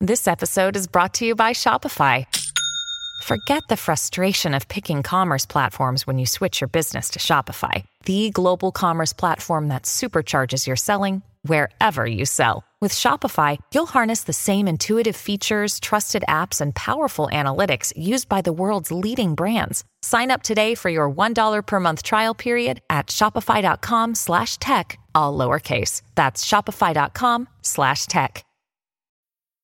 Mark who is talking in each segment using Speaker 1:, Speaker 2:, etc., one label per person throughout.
Speaker 1: This episode is brought to you by Shopify. Forget the frustration of picking commerce platforms when you switch your business to Shopify, the global commerce platform that supercharges your selling wherever you sell. With Shopify, you'll harness the same intuitive features, trusted apps, and powerful analytics used by the world's leading brands. Sign up today for your $1 per month trial period at shopify.com slash tech, all lowercase. That's shopify.com slash tech.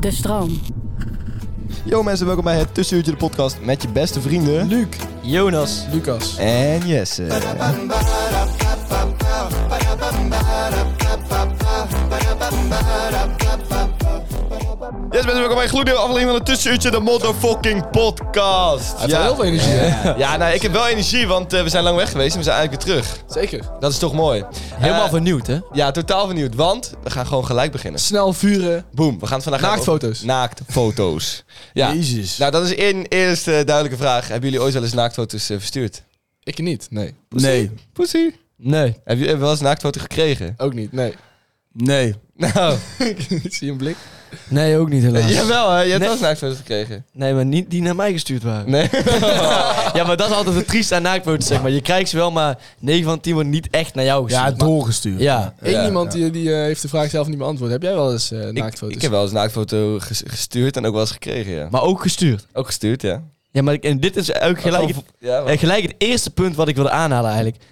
Speaker 2: De stroom.
Speaker 3: Yo mensen, welkom bij het Tussenuurtje de podcast met je beste vrienden... Luc, Jonas
Speaker 4: Lucas.
Speaker 3: en Jesse. Yes mensen, welkom bij een gloednieuwe aflevering van het Tussenuurtje de motherfucking podcast.
Speaker 4: Hij heeft wel heel veel energie, hè?
Speaker 3: Ja, nou ik heb wel energie, want eh, we zijn lang weg geweest en we zijn eigenlijk weer terug.
Speaker 4: Zeker.
Speaker 3: Dat is toch mooi.
Speaker 5: Helemaal
Speaker 3: Eh,
Speaker 5: vernieuwd, hè?
Speaker 3: Ja, totaal vernieuwd, want we gaan gewoon gelijk beginnen.
Speaker 4: Snel vuren.
Speaker 3: Boom, we gaan het vandaag hebben over-
Speaker 4: Naaktfoto's.
Speaker 3: Naaktfoto's. Ja.
Speaker 5: Jezus.
Speaker 3: Nou, dat is één eerste duidelijke vraag. Hebben jullie ooit wel eens naaktfoto's eh, verstuurd?
Speaker 4: Ik niet, nee.
Speaker 5: nee.
Speaker 3: Pussy.
Speaker 5: Nee.
Speaker 3: Heb je heb je wel eens een naaktfoto gekregen?
Speaker 4: Ook niet, nee.
Speaker 5: Nee.
Speaker 3: Nou,
Speaker 4: Ik zie een blik.
Speaker 5: Nee, ook niet helaas.
Speaker 3: jawel hè. Je hebt
Speaker 5: Nee.
Speaker 3: wel eens naaktfoto's gekregen.
Speaker 5: Nee, maar niet die naar mij gestuurd waren.
Speaker 3: Nee.
Speaker 5: Ja, maar dat is altijd het triest aan naaktfoto's, zeg maar. Je krijgt ze wel, maar 9 van 10 wordt niet echt naar jou gestuurd.
Speaker 6: Ja,
Speaker 5: Maar-
Speaker 6: doorgestuurd.
Speaker 5: Ja.
Speaker 4: Eén
Speaker 3: Ja,
Speaker 4: iemand die, die eh, heeft de vraag zelf niet beantwoord. Heb jij wel eens eh
Speaker 3: ik,
Speaker 4: naaktfoto's?
Speaker 3: ik heb wel eens een naaktfoto ges- gestuurd en ook wel eens gekregen, ja.
Speaker 5: Maar ook gestuurd.
Speaker 3: Ook gestuurd, ja.
Speaker 5: Ja, maar ik- en dit is ook gelijk het,
Speaker 3: Ja, maar-
Speaker 5: eh, gelijk het eerste punt wat ik wilde aanhalen eigenlijk.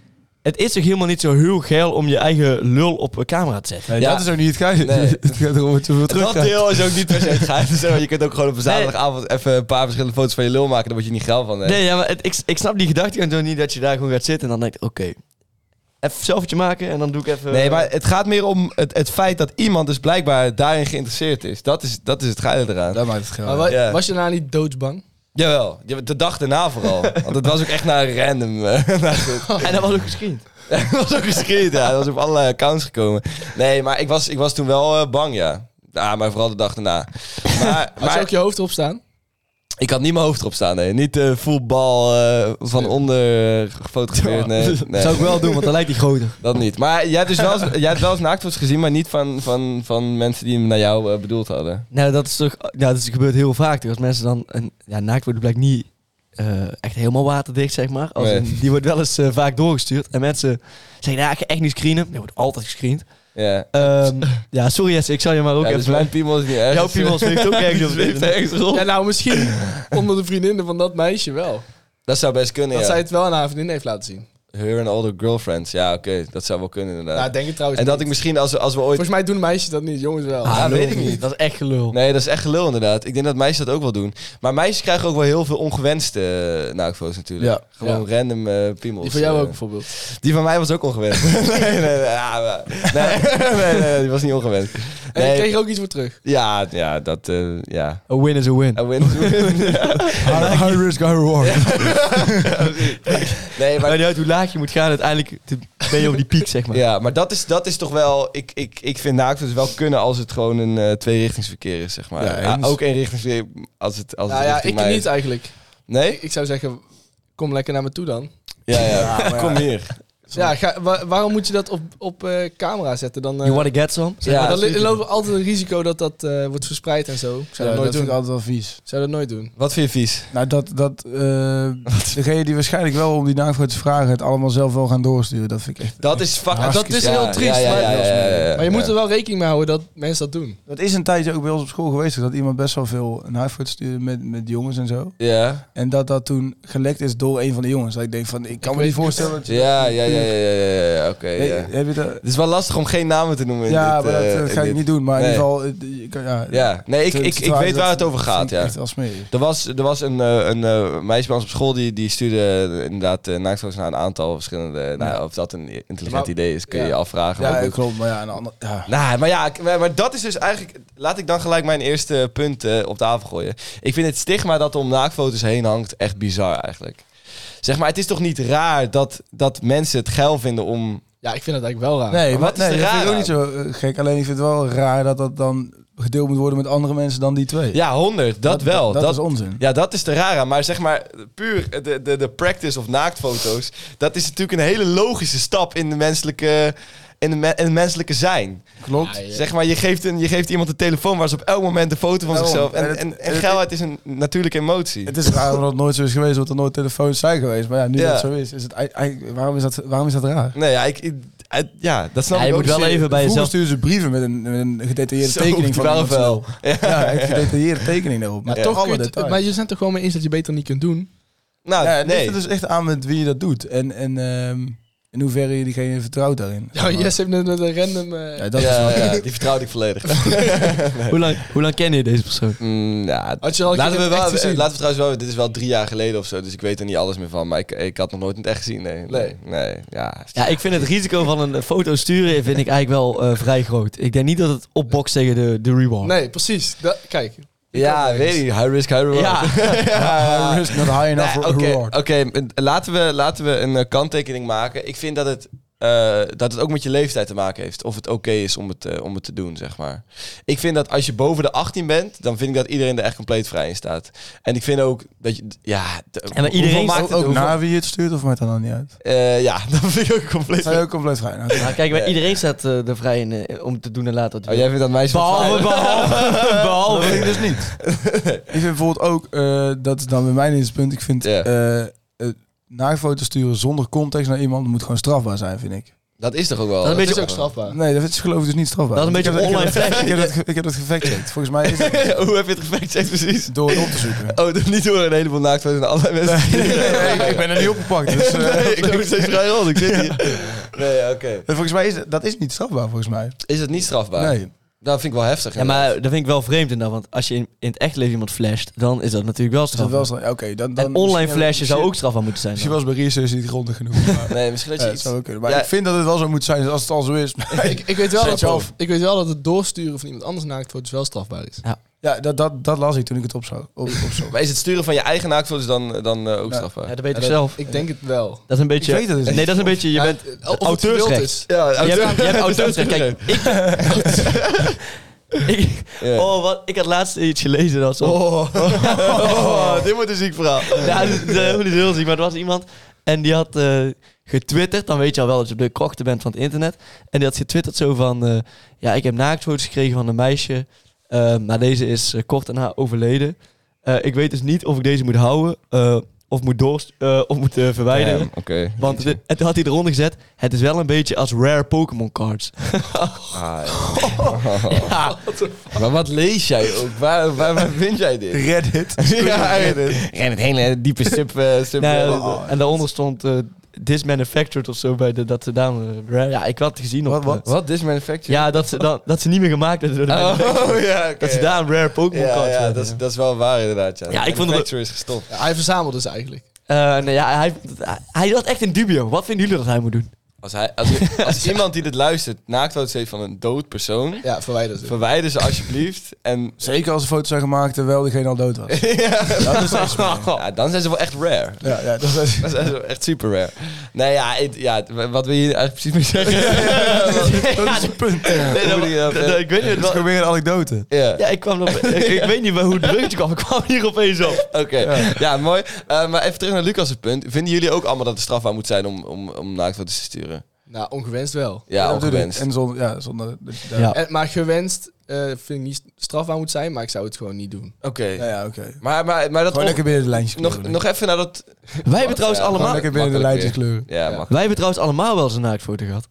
Speaker 5: Het is toch helemaal niet zo heel geil om je eigen lul op eh, camera te zetten?
Speaker 6: Nee,
Speaker 3: Ja.
Speaker 6: Dat is ook niet het geil.
Speaker 3: Nee.
Speaker 6: het gaat erom dat je veel terug
Speaker 3: dat deel is ook niet per se het geheim. Zeg maar, je kunt ook gewoon op een zaterdagavond even een paar verschillende foto's van je lul maken. Daar word je niet geil van. hè.
Speaker 5: Nee, ja, maar het- ik, ik snap die gedachte gewoon niet dat je daar gewoon gaat zitten en dan denkt, oké, even zelfje maken en dan doe ik even...
Speaker 3: Nee, maar het gaat meer om het, het feit dat iemand dus blijkbaar daarin geïnteresseerd is. Dat is, dat is het geile eraan.
Speaker 6: Dat maakt het geil.
Speaker 4: Maar wa-
Speaker 3: Ja.
Speaker 4: Was je daarna niet doodsbang?
Speaker 3: Jawel, Ja, de dag daarna vooral. Want het was ook echt naar een random. eh, naar goed.
Speaker 5: En dat was ook gescreend.
Speaker 3: Het was ook geschied, ja. Dat was op allerlei accounts gekomen. Nee, maar ik was, ik was toen wel eh, bang, ja. Ja, maar vooral de dag daarna. Maar,
Speaker 4: Had je
Speaker 3: maar
Speaker 4: ook je hoofd erop staan?
Speaker 3: ik had niet mijn hoofd erop staan, nee. Niet eh, voetbal eh, van onder eh, gefotografeerd, nee. nee.
Speaker 5: Zou ik wel doen, want dan lijkt die groter.
Speaker 3: Dat niet. Maar jij hebt dus wel eens, jij hebt wel eens naaktfoto's gezien, maar niet van, van, van mensen die hem naar jou eh, bedoeld hadden.
Speaker 5: Nou, dat is toch. Ja, dat is- gebeurt heel vaak. toch? Als mensen dan. Een, ja, naakt worden blijkt niet eh, echt helemaal waterdicht, zeg maar. Als
Speaker 3: Nee.
Speaker 5: in- die wordt wel eens eh, vaak doorgestuurd. En mensen zeggen, nou, ik ga echt niet screenen. Die wordt altijd gescreend.
Speaker 3: Ja.
Speaker 5: Ehm, ja, sorry Jesse, ik zal je maar ook
Speaker 3: Ja, dus
Speaker 5: even...
Speaker 3: mijn piemel is niet erg.
Speaker 5: Jouw piemel zweeft ook ergens op.
Speaker 3: Zweeft ergens rond.
Speaker 4: Ja, nou misschien onder de vriendinnen van dat meisje wel.
Speaker 3: Dat zou best kunnen,
Speaker 4: Dat
Speaker 3: ja.
Speaker 4: zij het wel aan haar vriendin heeft laten zien.
Speaker 3: Her and all the girlfriends. Ja, oké. Dat zou wel kunnen, inderdaad.
Speaker 4: Nou, denk ik trouwens
Speaker 3: en dat ik
Speaker 4: niet.
Speaker 3: misschien, als, we- als we ooit...
Speaker 4: Volgens mij doen meisjes dat niet, jongens wel.
Speaker 3: Ah,
Speaker 5: Ah,
Speaker 3: weet
Speaker 5: lul.
Speaker 3: ik niet.
Speaker 5: Dat is echt gelul.
Speaker 3: Nee, dat is echt gelul inderdaad. Ik denk dat meisjes dat ook wel doen. Maar meisjes krijgen ook wel heel veel ongewenste eh, naaktfoto's natuurlijk.
Speaker 4: Ja.
Speaker 3: Gewoon random eh piemels.
Speaker 4: die van jou
Speaker 3: eh.
Speaker 4: ook bijvoorbeeld.
Speaker 3: Die van mij was ook ongewenst. nee, nee, nee, ja, maar- nee, nee, nee, nee, die was niet ongewenst.
Speaker 4: En
Speaker 3: Nee,
Speaker 4: je kreeg er ook iets voor terug.
Speaker 3: ja, ja, dat, eh, ja.
Speaker 5: A win is a win.
Speaker 3: A win is a win.
Speaker 6: High, high risk, high reward.
Speaker 3: nee,
Speaker 5: Maar
Speaker 3: maar,
Speaker 5: niet uit hoe laag je moet gaan, uiteindelijk te- ben je op die piek, zeg maar.
Speaker 3: ja, maar dat, is, dat is toch wel... Ik, ik, ik vind naaktfoto's wel kunnen als het gewoon een eh, tweerichtingsverkeer is, zeg maar.
Speaker 6: Ja,
Speaker 3: Ja,
Speaker 6: eens.
Speaker 3: ook eenrichtingsverkeer als het, als
Speaker 4: Nou
Speaker 3: het
Speaker 4: ja, ik
Speaker 3: richting mij is.
Speaker 4: niet eigenlijk.
Speaker 3: Nee?
Speaker 4: Ik zou zeggen, kom lekker naar me toe dan.
Speaker 3: Ja, ja. Kom hier.
Speaker 4: Ja, ga- wa- waarom moet je dat op, op eh, camera zetten? Dan, eh,
Speaker 5: You wanna get some?
Speaker 4: zeg maar,
Speaker 3: Ja,
Speaker 4: dan li-
Speaker 3: zeker.
Speaker 4: loopt er altijd een risico dat dat eh, wordt verspreid en zo. Ik zou dat
Speaker 6: Ja,
Speaker 4: nooit
Speaker 6: dat
Speaker 4: doen.
Speaker 6: vind ik altijd wel vies.
Speaker 4: Ik zou dat nooit doen.
Speaker 3: Wat vind je vies?
Speaker 6: Nou, dat, dat eh degene die waarschijnlijk wel om die naamgroot te vragen het allemaal zelf wel gaan doorsturen. Ah, Dat vind ik echt...
Speaker 3: Dat is fucking...
Speaker 6: Hartstikke-
Speaker 3: dat is
Speaker 6: Ja,
Speaker 3: heel triest.
Speaker 6: ja, ja,
Speaker 3: maar-
Speaker 6: ja, ja, ja, ja.
Speaker 4: Maar je moet er wel rekening mee houden dat mensen dat doen.
Speaker 6: Dat is een tijdje ook bij ons op school geweest, dat iemand best wel veel naamgroot stuurde met, met jongens en zo.
Speaker 3: Ja,
Speaker 6: En dat dat toen gelekt is door een van de jongens. Dat ik denk van, ik kan me niet voorstellen dat je...
Speaker 3: ja, ja, ja. ja, ja, ja, ja, ja, oké.
Speaker 6: Nee,
Speaker 3: ja.
Speaker 6: Heb je dat?
Speaker 3: Het is wel lastig om geen namen te noemen. in
Speaker 6: Ja,
Speaker 3: dit,
Speaker 6: maar dat
Speaker 3: eh,
Speaker 6: eh,
Speaker 3: in
Speaker 6: ga ik
Speaker 3: dit.
Speaker 6: niet doen. Maar in
Speaker 3: Nee.
Speaker 6: ieder geval... eh, je kan- Ja,
Speaker 3: Ja, nee, ik,
Speaker 6: Te-
Speaker 3: ik,
Speaker 6: te
Speaker 3: ik
Speaker 6: trouwen,
Speaker 3: weet waar
Speaker 6: dat
Speaker 3: het over
Speaker 6: vind
Speaker 3: gaat.
Speaker 6: ik
Speaker 3: Ja.
Speaker 6: Echt wel smerig.
Speaker 3: Er was, er was een, eh, een eh, meisje bij ons op school die, die stuurde eh, inderdaad eh, naaktfoto's naar een aantal verschillende. Nou, ja, of dat een intelligent
Speaker 6: Maar-
Speaker 3: idee is, kun je
Speaker 6: ja.
Speaker 3: je afvragen.
Speaker 6: Ja,
Speaker 3: Maar
Speaker 6: ja,
Speaker 3: goed.
Speaker 6: klopt. Maar ja, een ander... Ja.
Speaker 3: Nou, maar ja, ik- maar maar dat is dus eigenlijk. Laat ik dan gelijk mijn eerste punt eh, op tafel gooien. Ik vind het stigma dat om naaktfoto's heen hangt echt bizar eigenlijk. Zeg maar, het is toch niet raar dat, dat mensen het geil vinden om.
Speaker 4: Ja, ik vind dat eigenlijk wel raar.
Speaker 6: Nee,
Speaker 3: Maar
Speaker 6: maar
Speaker 3: wat is
Speaker 6: nee,
Speaker 3: er
Speaker 6: dat vind
Speaker 3: raar
Speaker 6: ik ook niet zo eh, gek. Alleen ik vind het wel raar dat dat dan gedeeld moet worden met andere mensen dan die twee.
Speaker 3: Ja, 100, dat, wel.
Speaker 6: Dat, is onzin.
Speaker 3: Ja, dat is de rara. Maar zeg maar, puur de, de, de practice of naaktfoto's... dat is natuurlijk een hele logische stap in de menselijke, in de me- in het menselijke zijn.
Speaker 6: Klopt.
Speaker 4: Ja, ja.
Speaker 3: Zeg maar, je geeft, een, je geeft iemand een telefoon... waar ze op elk moment een foto van
Speaker 6: Daarom.
Speaker 3: zichzelf... En,
Speaker 6: En
Speaker 3: en,
Speaker 6: het-
Speaker 3: en,
Speaker 6: het-
Speaker 3: geilheid is een natuurlijke emotie.
Speaker 6: Het is raar omdat het nooit zo is geweest, omdat er nooit telefoons zijn geweest. Maar ja, nu
Speaker 3: Ja.
Speaker 6: dat het zo is, is het ei- ei- waarom, is dat, waarom is dat raar?
Speaker 3: nee, ja, ik, ik- uit- ja, dat snap
Speaker 5: Ja,
Speaker 3: ik
Speaker 5: je
Speaker 3: ook
Speaker 5: moet wel
Speaker 3: zeer.
Speaker 5: even bij
Speaker 6: Vroeger
Speaker 5: jezelf...
Speaker 6: stuurden ze brieven met een, met een gedetailleerde
Speaker 3: Zo,
Speaker 6: tekening van
Speaker 3: wel
Speaker 6: iemand
Speaker 3: wel.
Speaker 6: snel. Ja, een gedetailleerde tekening daarop.
Speaker 4: Maar
Speaker 6: Maar
Speaker 4: toch,
Speaker 6: alle
Speaker 4: kun je het-
Speaker 6: details.
Speaker 4: maar je bent er gewoon mee eens dat je beter niet kunt doen.
Speaker 3: Nou,
Speaker 6: Ja, het
Speaker 3: nee.
Speaker 6: ligt er dus echt aan met wie je dat doet. En, en ehm, in hoeverre je diegene vertrouwt daarin.
Speaker 4: Ja, Jess heeft net met een random... eh,
Speaker 6: Ja, dat is
Speaker 3: ja,
Speaker 6: wel-
Speaker 3: ja, die vertrouwde ik volledig.
Speaker 5: Hoe, lang, hoe lang ken je deze persoon?
Speaker 3: Mm, ja,
Speaker 4: Had je al een
Speaker 3: laten,
Speaker 4: keer
Speaker 3: we
Speaker 4: in het
Speaker 3: wel,
Speaker 4: echt gezien?
Speaker 3: laten we trouwens wel, dit is wel drie jaar geleden of zo, dus ik weet er niet alles meer van. Maar ik, ik had nog nooit in het echt gezien, nee. Nee, nee ja.
Speaker 5: Ja, ik vind het risico van een eh, foto sturen vind ik eigenlijk wel eh, vrij groot. Ik denk niet dat het opbokst tegen de, de reward.
Speaker 4: Nee, precies. Da- kijk.
Speaker 3: Ja, weet je, high risk, high reward.
Speaker 5: Ja.
Speaker 3: Ja.
Speaker 6: High risk, not high enough
Speaker 3: Nee,
Speaker 6: for
Speaker 3: Oké,
Speaker 6: reward.
Speaker 3: oké, Ehm, eh, laten, we, laten we een eh, kanttekening maken. Ik vind dat het, eh, dat het ook met je leeftijd te maken heeft. Of het oké is om het, eh, om het te doen, zeg maar. Ik vind dat als je boven de 18 bent, dan vind ik dat iedereen er echt compleet vrij in staat. En ik vind ook dat je... Ja, de-
Speaker 5: maar
Speaker 3: hoeveel
Speaker 5: iedereen
Speaker 3: maakt
Speaker 5: ook-
Speaker 3: het-
Speaker 6: Ook
Speaker 3: hoeveel-
Speaker 6: na wie je het stuurt of maakt dat dan niet uit?
Speaker 3: Eh, ja, dat vind ik ook compleet...
Speaker 6: Zijn je ook compleet vrij. Nou,
Speaker 5: Maar kijk, bij iedereen staat eh, er vrij in eh, om te doen en laten wat
Speaker 3: Oh,
Speaker 5: hij
Speaker 3: jij
Speaker 5: wil.
Speaker 3: vindt dat meisje wat
Speaker 5: Behalve,
Speaker 3: fijn.
Speaker 5: behalve,
Speaker 6: Dat
Speaker 5: behalve.
Speaker 6: vind ik dus niet. ik vind bijvoorbeeld ook, eh, dat is dan bij mijn eerste punt, ik vind
Speaker 3: Ja.
Speaker 6: eh, eh, naaktfoto's sturen zonder context naar iemand moet gewoon strafbaar zijn, vind ik.
Speaker 3: Dat is toch ook wel...
Speaker 5: Dat is een
Speaker 4: Dat is ook
Speaker 3: toch wel-
Speaker 4: strafbaar.
Speaker 6: Nee, dat is geloof ik dus niet strafbaar.
Speaker 5: Dat is een
Speaker 6: Ik
Speaker 5: beetje
Speaker 6: heb- ik heb
Speaker 5: online
Speaker 6: dat- Ik heb dat ge- ik heb dat gefactcheckt. Volgens mij is het
Speaker 3: Hoe heb je het gefactcheckt precies?
Speaker 6: door het op te zoeken.
Speaker 3: Oh, dat- niet door een heleboel naaktfoto's en allerlei mensen.
Speaker 6: ik ben er niet opgepakt. Dus, eh,
Speaker 3: Nee, ik doe het steeds vrij rond. Ik zit hier. Nee, oké.
Speaker 6: volgens mij is het- dat is niet strafbaar, volgens mij. Oh,
Speaker 3: Is het niet strafbaar?
Speaker 6: Nee.
Speaker 3: Dat vind ik wel heftig.
Speaker 5: Ja, maar dat vind ik wel vreemd inderdaad. Want als je in, in het echt leven iemand flasht, dan is dat natuurlijk wel
Speaker 6: Is dat
Speaker 5: straf.
Speaker 6: wel straf? ja, Oké, dan, dan
Speaker 5: En online
Speaker 6: misschien-
Speaker 5: flashen zou ook
Speaker 6: misschien-
Speaker 5: straf aan moeten zijn.
Speaker 6: Misschien
Speaker 5: dan.
Speaker 6: was bij research niet grondig genoeg. Maar,
Speaker 3: Nee, misschien dat
Speaker 6: ja,
Speaker 3: je
Speaker 6: dat
Speaker 3: iets...
Speaker 6: zou ook kunnen. Maar
Speaker 3: Ja.
Speaker 6: ik vind dat het wel zo moet zijn dus als het al zo is.
Speaker 4: Ik, ik, weet wel
Speaker 6: Zet je
Speaker 4: dat,
Speaker 6: af.
Speaker 4: ik weet wel dat het doorsturen van iemand anders naaktfoto's wel strafbaar is.
Speaker 6: ja, dat, dat, dat las ik toen ik het opzo- op, op zo.
Speaker 3: Maar is het sturen van je eigen naaktfoto's dan, dan eh, ook
Speaker 6: Ja.
Speaker 3: strafbaar?
Speaker 5: Ja, dat weet
Speaker 4: Ja,
Speaker 5: ik
Speaker 4: dat-
Speaker 5: zelf.
Speaker 4: Ik denk het wel.
Speaker 5: Dat is een beetje...
Speaker 6: weet dat dus
Speaker 5: nee,
Speaker 6: niet.
Speaker 5: dat is een beetje... Je
Speaker 4: Ja,
Speaker 5: bent...
Speaker 4: eh, of het
Speaker 5: auteursrecht.
Speaker 4: gewild is.
Speaker 3: Ja,
Speaker 5: Je hebt, je hebt auteursrecht. Kijk, ik... ik
Speaker 3: Ja.
Speaker 5: Oh, wat, ik had laatst iets gelezen. Dat was zo-
Speaker 3: Oh. Oh, dit wordt een ziek verhaal.
Speaker 5: Ja, dat is dat is helemaal niet heel ziek, maar er was iemand en die had eh, getwitterd. Dan weet je al wel dat je op de krochten bent van het internet. En die had getwitterd zo van... eh, ja, ik heb naaktfoto's gekregen van een meisje. eh, maar deze is eh, kort daarna overleden. Eh, ik weet dus niet of ik deze moet houden eh, of moet, doorst- eh, of moet eh, verwijderen.
Speaker 3: Damn, Oké.
Speaker 5: Want het, en toen had hij eronder gezet, het is wel een beetje als rare Pokémon cards.
Speaker 3: Ah, ja. Maar wat lees jij ook? Waar, waar, waar vind jij dit?
Speaker 6: Reddit.
Speaker 3: Ja, Reddit. Reddit, hele diepe sub... eh, sub
Speaker 5: Nou,
Speaker 3: eh,
Speaker 5: en daaronder stond eh this manufactured of zo bij de, dat ze dame... rare- Ja, ik had het gezien
Speaker 6: Wat-
Speaker 5: op...
Speaker 6: wat?
Speaker 5: eh,
Speaker 3: Wat? This manufacturer?
Speaker 5: ja, dat ze, dan, dat ze niet meer gemaakt werden door de
Speaker 3: Oh,
Speaker 5: manufacturer.
Speaker 3: ja, oké.
Speaker 5: Dat ze daar een rare Pokémon
Speaker 3: Ja,
Speaker 5: card
Speaker 3: ja
Speaker 5: hebben.
Speaker 3: dat, is, dat is wel waar inderdaad. Ja,
Speaker 5: Ja, ik vond het-
Speaker 3: Manufacturer is gestopt.
Speaker 4: Ja, hij verzamelde ze eigenlijk.
Speaker 5: Eh, nee, ja, hij, hij had echt een dubio. Wat vinden jullie dat hij moet doen?
Speaker 3: Als, hij, als, als iemand die dit luistert naaktfoto's heeft van een dood persoon,
Speaker 4: Ja, verwijder ze.
Speaker 3: verwijder ze alsjeblieft. En
Speaker 6: Zeker als de foto's zijn gemaakt terwijl diegene al dood was. Dat is echt zo.
Speaker 3: ja, dan zijn ze wel echt rare.
Speaker 6: Ja, ja, dat is...
Speaker 3: Dan zijn ze wel echt super rare. Nee, ja, het- ja het- wat wil je hier eigenlijk precies mee zeggen?
Speaker 6: Dat is een punt.
Speaker 5: Nee, dat-
Speaker 3: moet je dat-
Speaker 5: dat- dat- ik weet niet.
Speaker 6: Het is
Speaker 5: wat-
Speaker 6: gewoon weer een anekdote.
Speaker 3: Ja,
Speaker 5: ja, ik kwam op, ik, ik weet niet waar hoe het bruggetje kwam. Ik kwam hier opeens op.
Speaker 3: oké. Ja. mooi. Eh, maar even terug naar Lucas' punt. Vinden jullie ook allemaal dat het strafbaar moet zijn om, om, om naaktfoto's te sturen?
Speaker 4: Nou, ongewenst wel.
Speaker 3: Ja,
Speaker 6: dat bedoel ik.
Speaker 3: ongewenst.
Speaker 6: En zonder... Ja, zonder dus- ja,
Speaker 5: Ja.
Speaker 6: ja.
Speaker 4: En, maar gewenst eh, vind ik niet strafbaar moet zijn, maar ik zou het gewoon niet doen.
Speaker 3: Oké.
Speaker 6: ja, oké.
Speaker 3: Maar, maar, maar dat...
Speaker 6: Gewoon
Speaker 3: on-
Speaker 6: lekker binnen de lijntjes
Speaker 3: nog,
Speaker 6: kleuren.
Speaker 3: nog even naar dat...
Speaker 5: Wij hebben trouwens
Speaker 3: Ja,
Speaker 6: Gewoon
Speaker 5: allemaal...
Speaker 6: lekker binnen de
Speaker 3: makkelijk
Speaker 6: lijntjes
Speaker 3: weer. Ja,
Speaker 6: kleuren. Ja.
Speaker 3: mag.
Speaker 5: Wij hebben trouwens allemaal wel eens een naaktfoto gehad.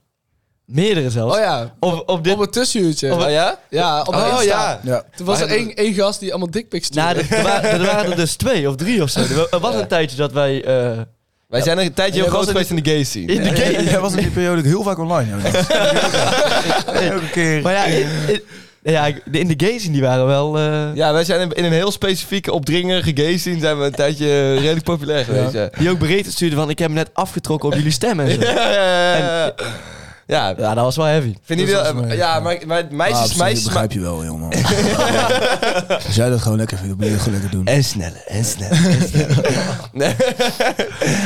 Speaker 5: Meerdere zelfs.
Speaker 4: Oh ja,
Speaker 5: Op, op dit...
Speaker 4: op het tussenuurtje.
Speaker 3: Oh ja?
Speaker 4: ja, op
Speaker 3: Oh
Speaker 4: Insta.
Speaker 3: ja.
Speaker 6: Ja.
Speaker 4: Toen was er
Speaker 3: Maar-
Speaker 4: één, één gast die allemaal dickpics stuurde.
Speaker 5: Nou, er, er wa- er waren er dus twee of drie of zo. Er wa- er was een tijdje dat wij... eh,
Speaker 3: Wij zijn een tijdje heel groot
Speaker 6: Jij was in
Speaker 3: geweest in de gay scene.
Speaker 5: de
Speaker 6: Jij jij was in die periode ook heel vaak online. Jonas. Elke keer.
Speaker 5: Maar ja, in, in- ja, in de gays die waren wel... eh,
Speaker 3: Ja, wij zijn in- in een heel specifieke, opdringerige gay scene zijn we een tijdje redelijk populair geweest. Ja,
Speaker 5: Die ook berichten stuurden van, ik heb hem net afgetrokken op jullie stem en zo.
Speaker 3: ja, ja. ja, ja. ja.
Speaker 5: Ja, dat was wel heavy.
Speaker 3: Vinden jullie
Speaker 6: Dat was
Speaker 3: dat-
Speaker 6: mee.
Speaker 3: ja, maar, maar meisjes,
Speaker 6: Ah, op zich
Speaker 3: meisjes...
Speaker 6: begrijp je wel, jongen. Als jij dat gewoon lekker vindt, dan moet je dat gewoon lekker doen.
Speaker 3: En sneller, en sneller, en sneller. Nee.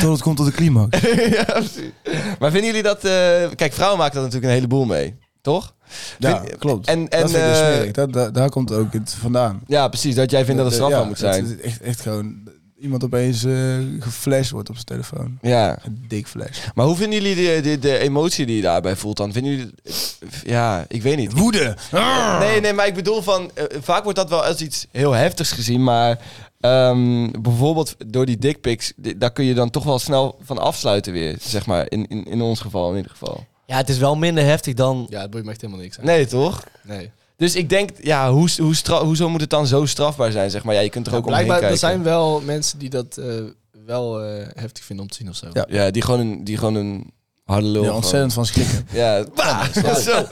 Speaker 6: Tot het komt tot de climax.
Speaker 3: ja, precies. Maar vinden jullie dat... eh, kijk, vrouwen maken dat natuurlijk een heleboel mee, toch?
Speaker 6: Ja,
Speaker 3: Vind-
Speaker 6: klopt.
Speaker 3: En, en,
Speaker 6: dat vind ik dus
Speaker 3: eh,
Speaker 6: smerig. Dat, dat- daar komt ook het vandaan. Eh,
Speaker 3: ja, precies. Dat jij vindt dat het strafbaar
Speaker 6: Ja,
Speaker 3: moet
Speaker 6: dat
Speaker 3: zijn.
Speaker 6: is Echt, echt gewoon iemand opeens eh geflasht wordt op zijn telefoon.
Speaker 3: Ja.
Speaker 6: Een dik flash.
Speaker 3: Maar hoe vinden jullie de, de, de emotie die je daarbij voelt dan? Vinden jullie... eh, Ja, ik weet niet. Eh,
Speaker 6: Woede!
Speaker 3: Nee, nee, maar ik bedoel van... eh, vaak wordt dat wel als iets heel heftigs gezien, maar... ehm, bijvoorbeeld door die dickpics, di- daar kun je dan toch wel snel van afsluiten weer, zeg maar. In, in, in ons geval in ieder geval.
Speaker 5: Ja, het is wel minder heftig dan...
Speaker 4: Ja, dat boeit me echt helemaal niks. hè.
Speaker 3: Nee, toch?
Speaker 4: nee.
Speaker 3: Dus ik denk, ja, hoe, hoe stra- hoezo moet het dan zo strafbaar zijn, zeg maar? Ja, je kunt er ook omheen
Speaker 4: Blijkbaar,
Speaker 3: kijken.
Speaker 4: er zijn wel mensen die dat eh, wel eh, heftig vinden om te zien of zo.
Speaker 6: Ja.
Speaker 3: Ja, die gewoon een, die gewoon een harde lul.
Speaker 6: Ja,
Speaker 3: gewoon-
Speaker 6: ontzettend van schrikken.
Speaker 3: Ja, bah, zo.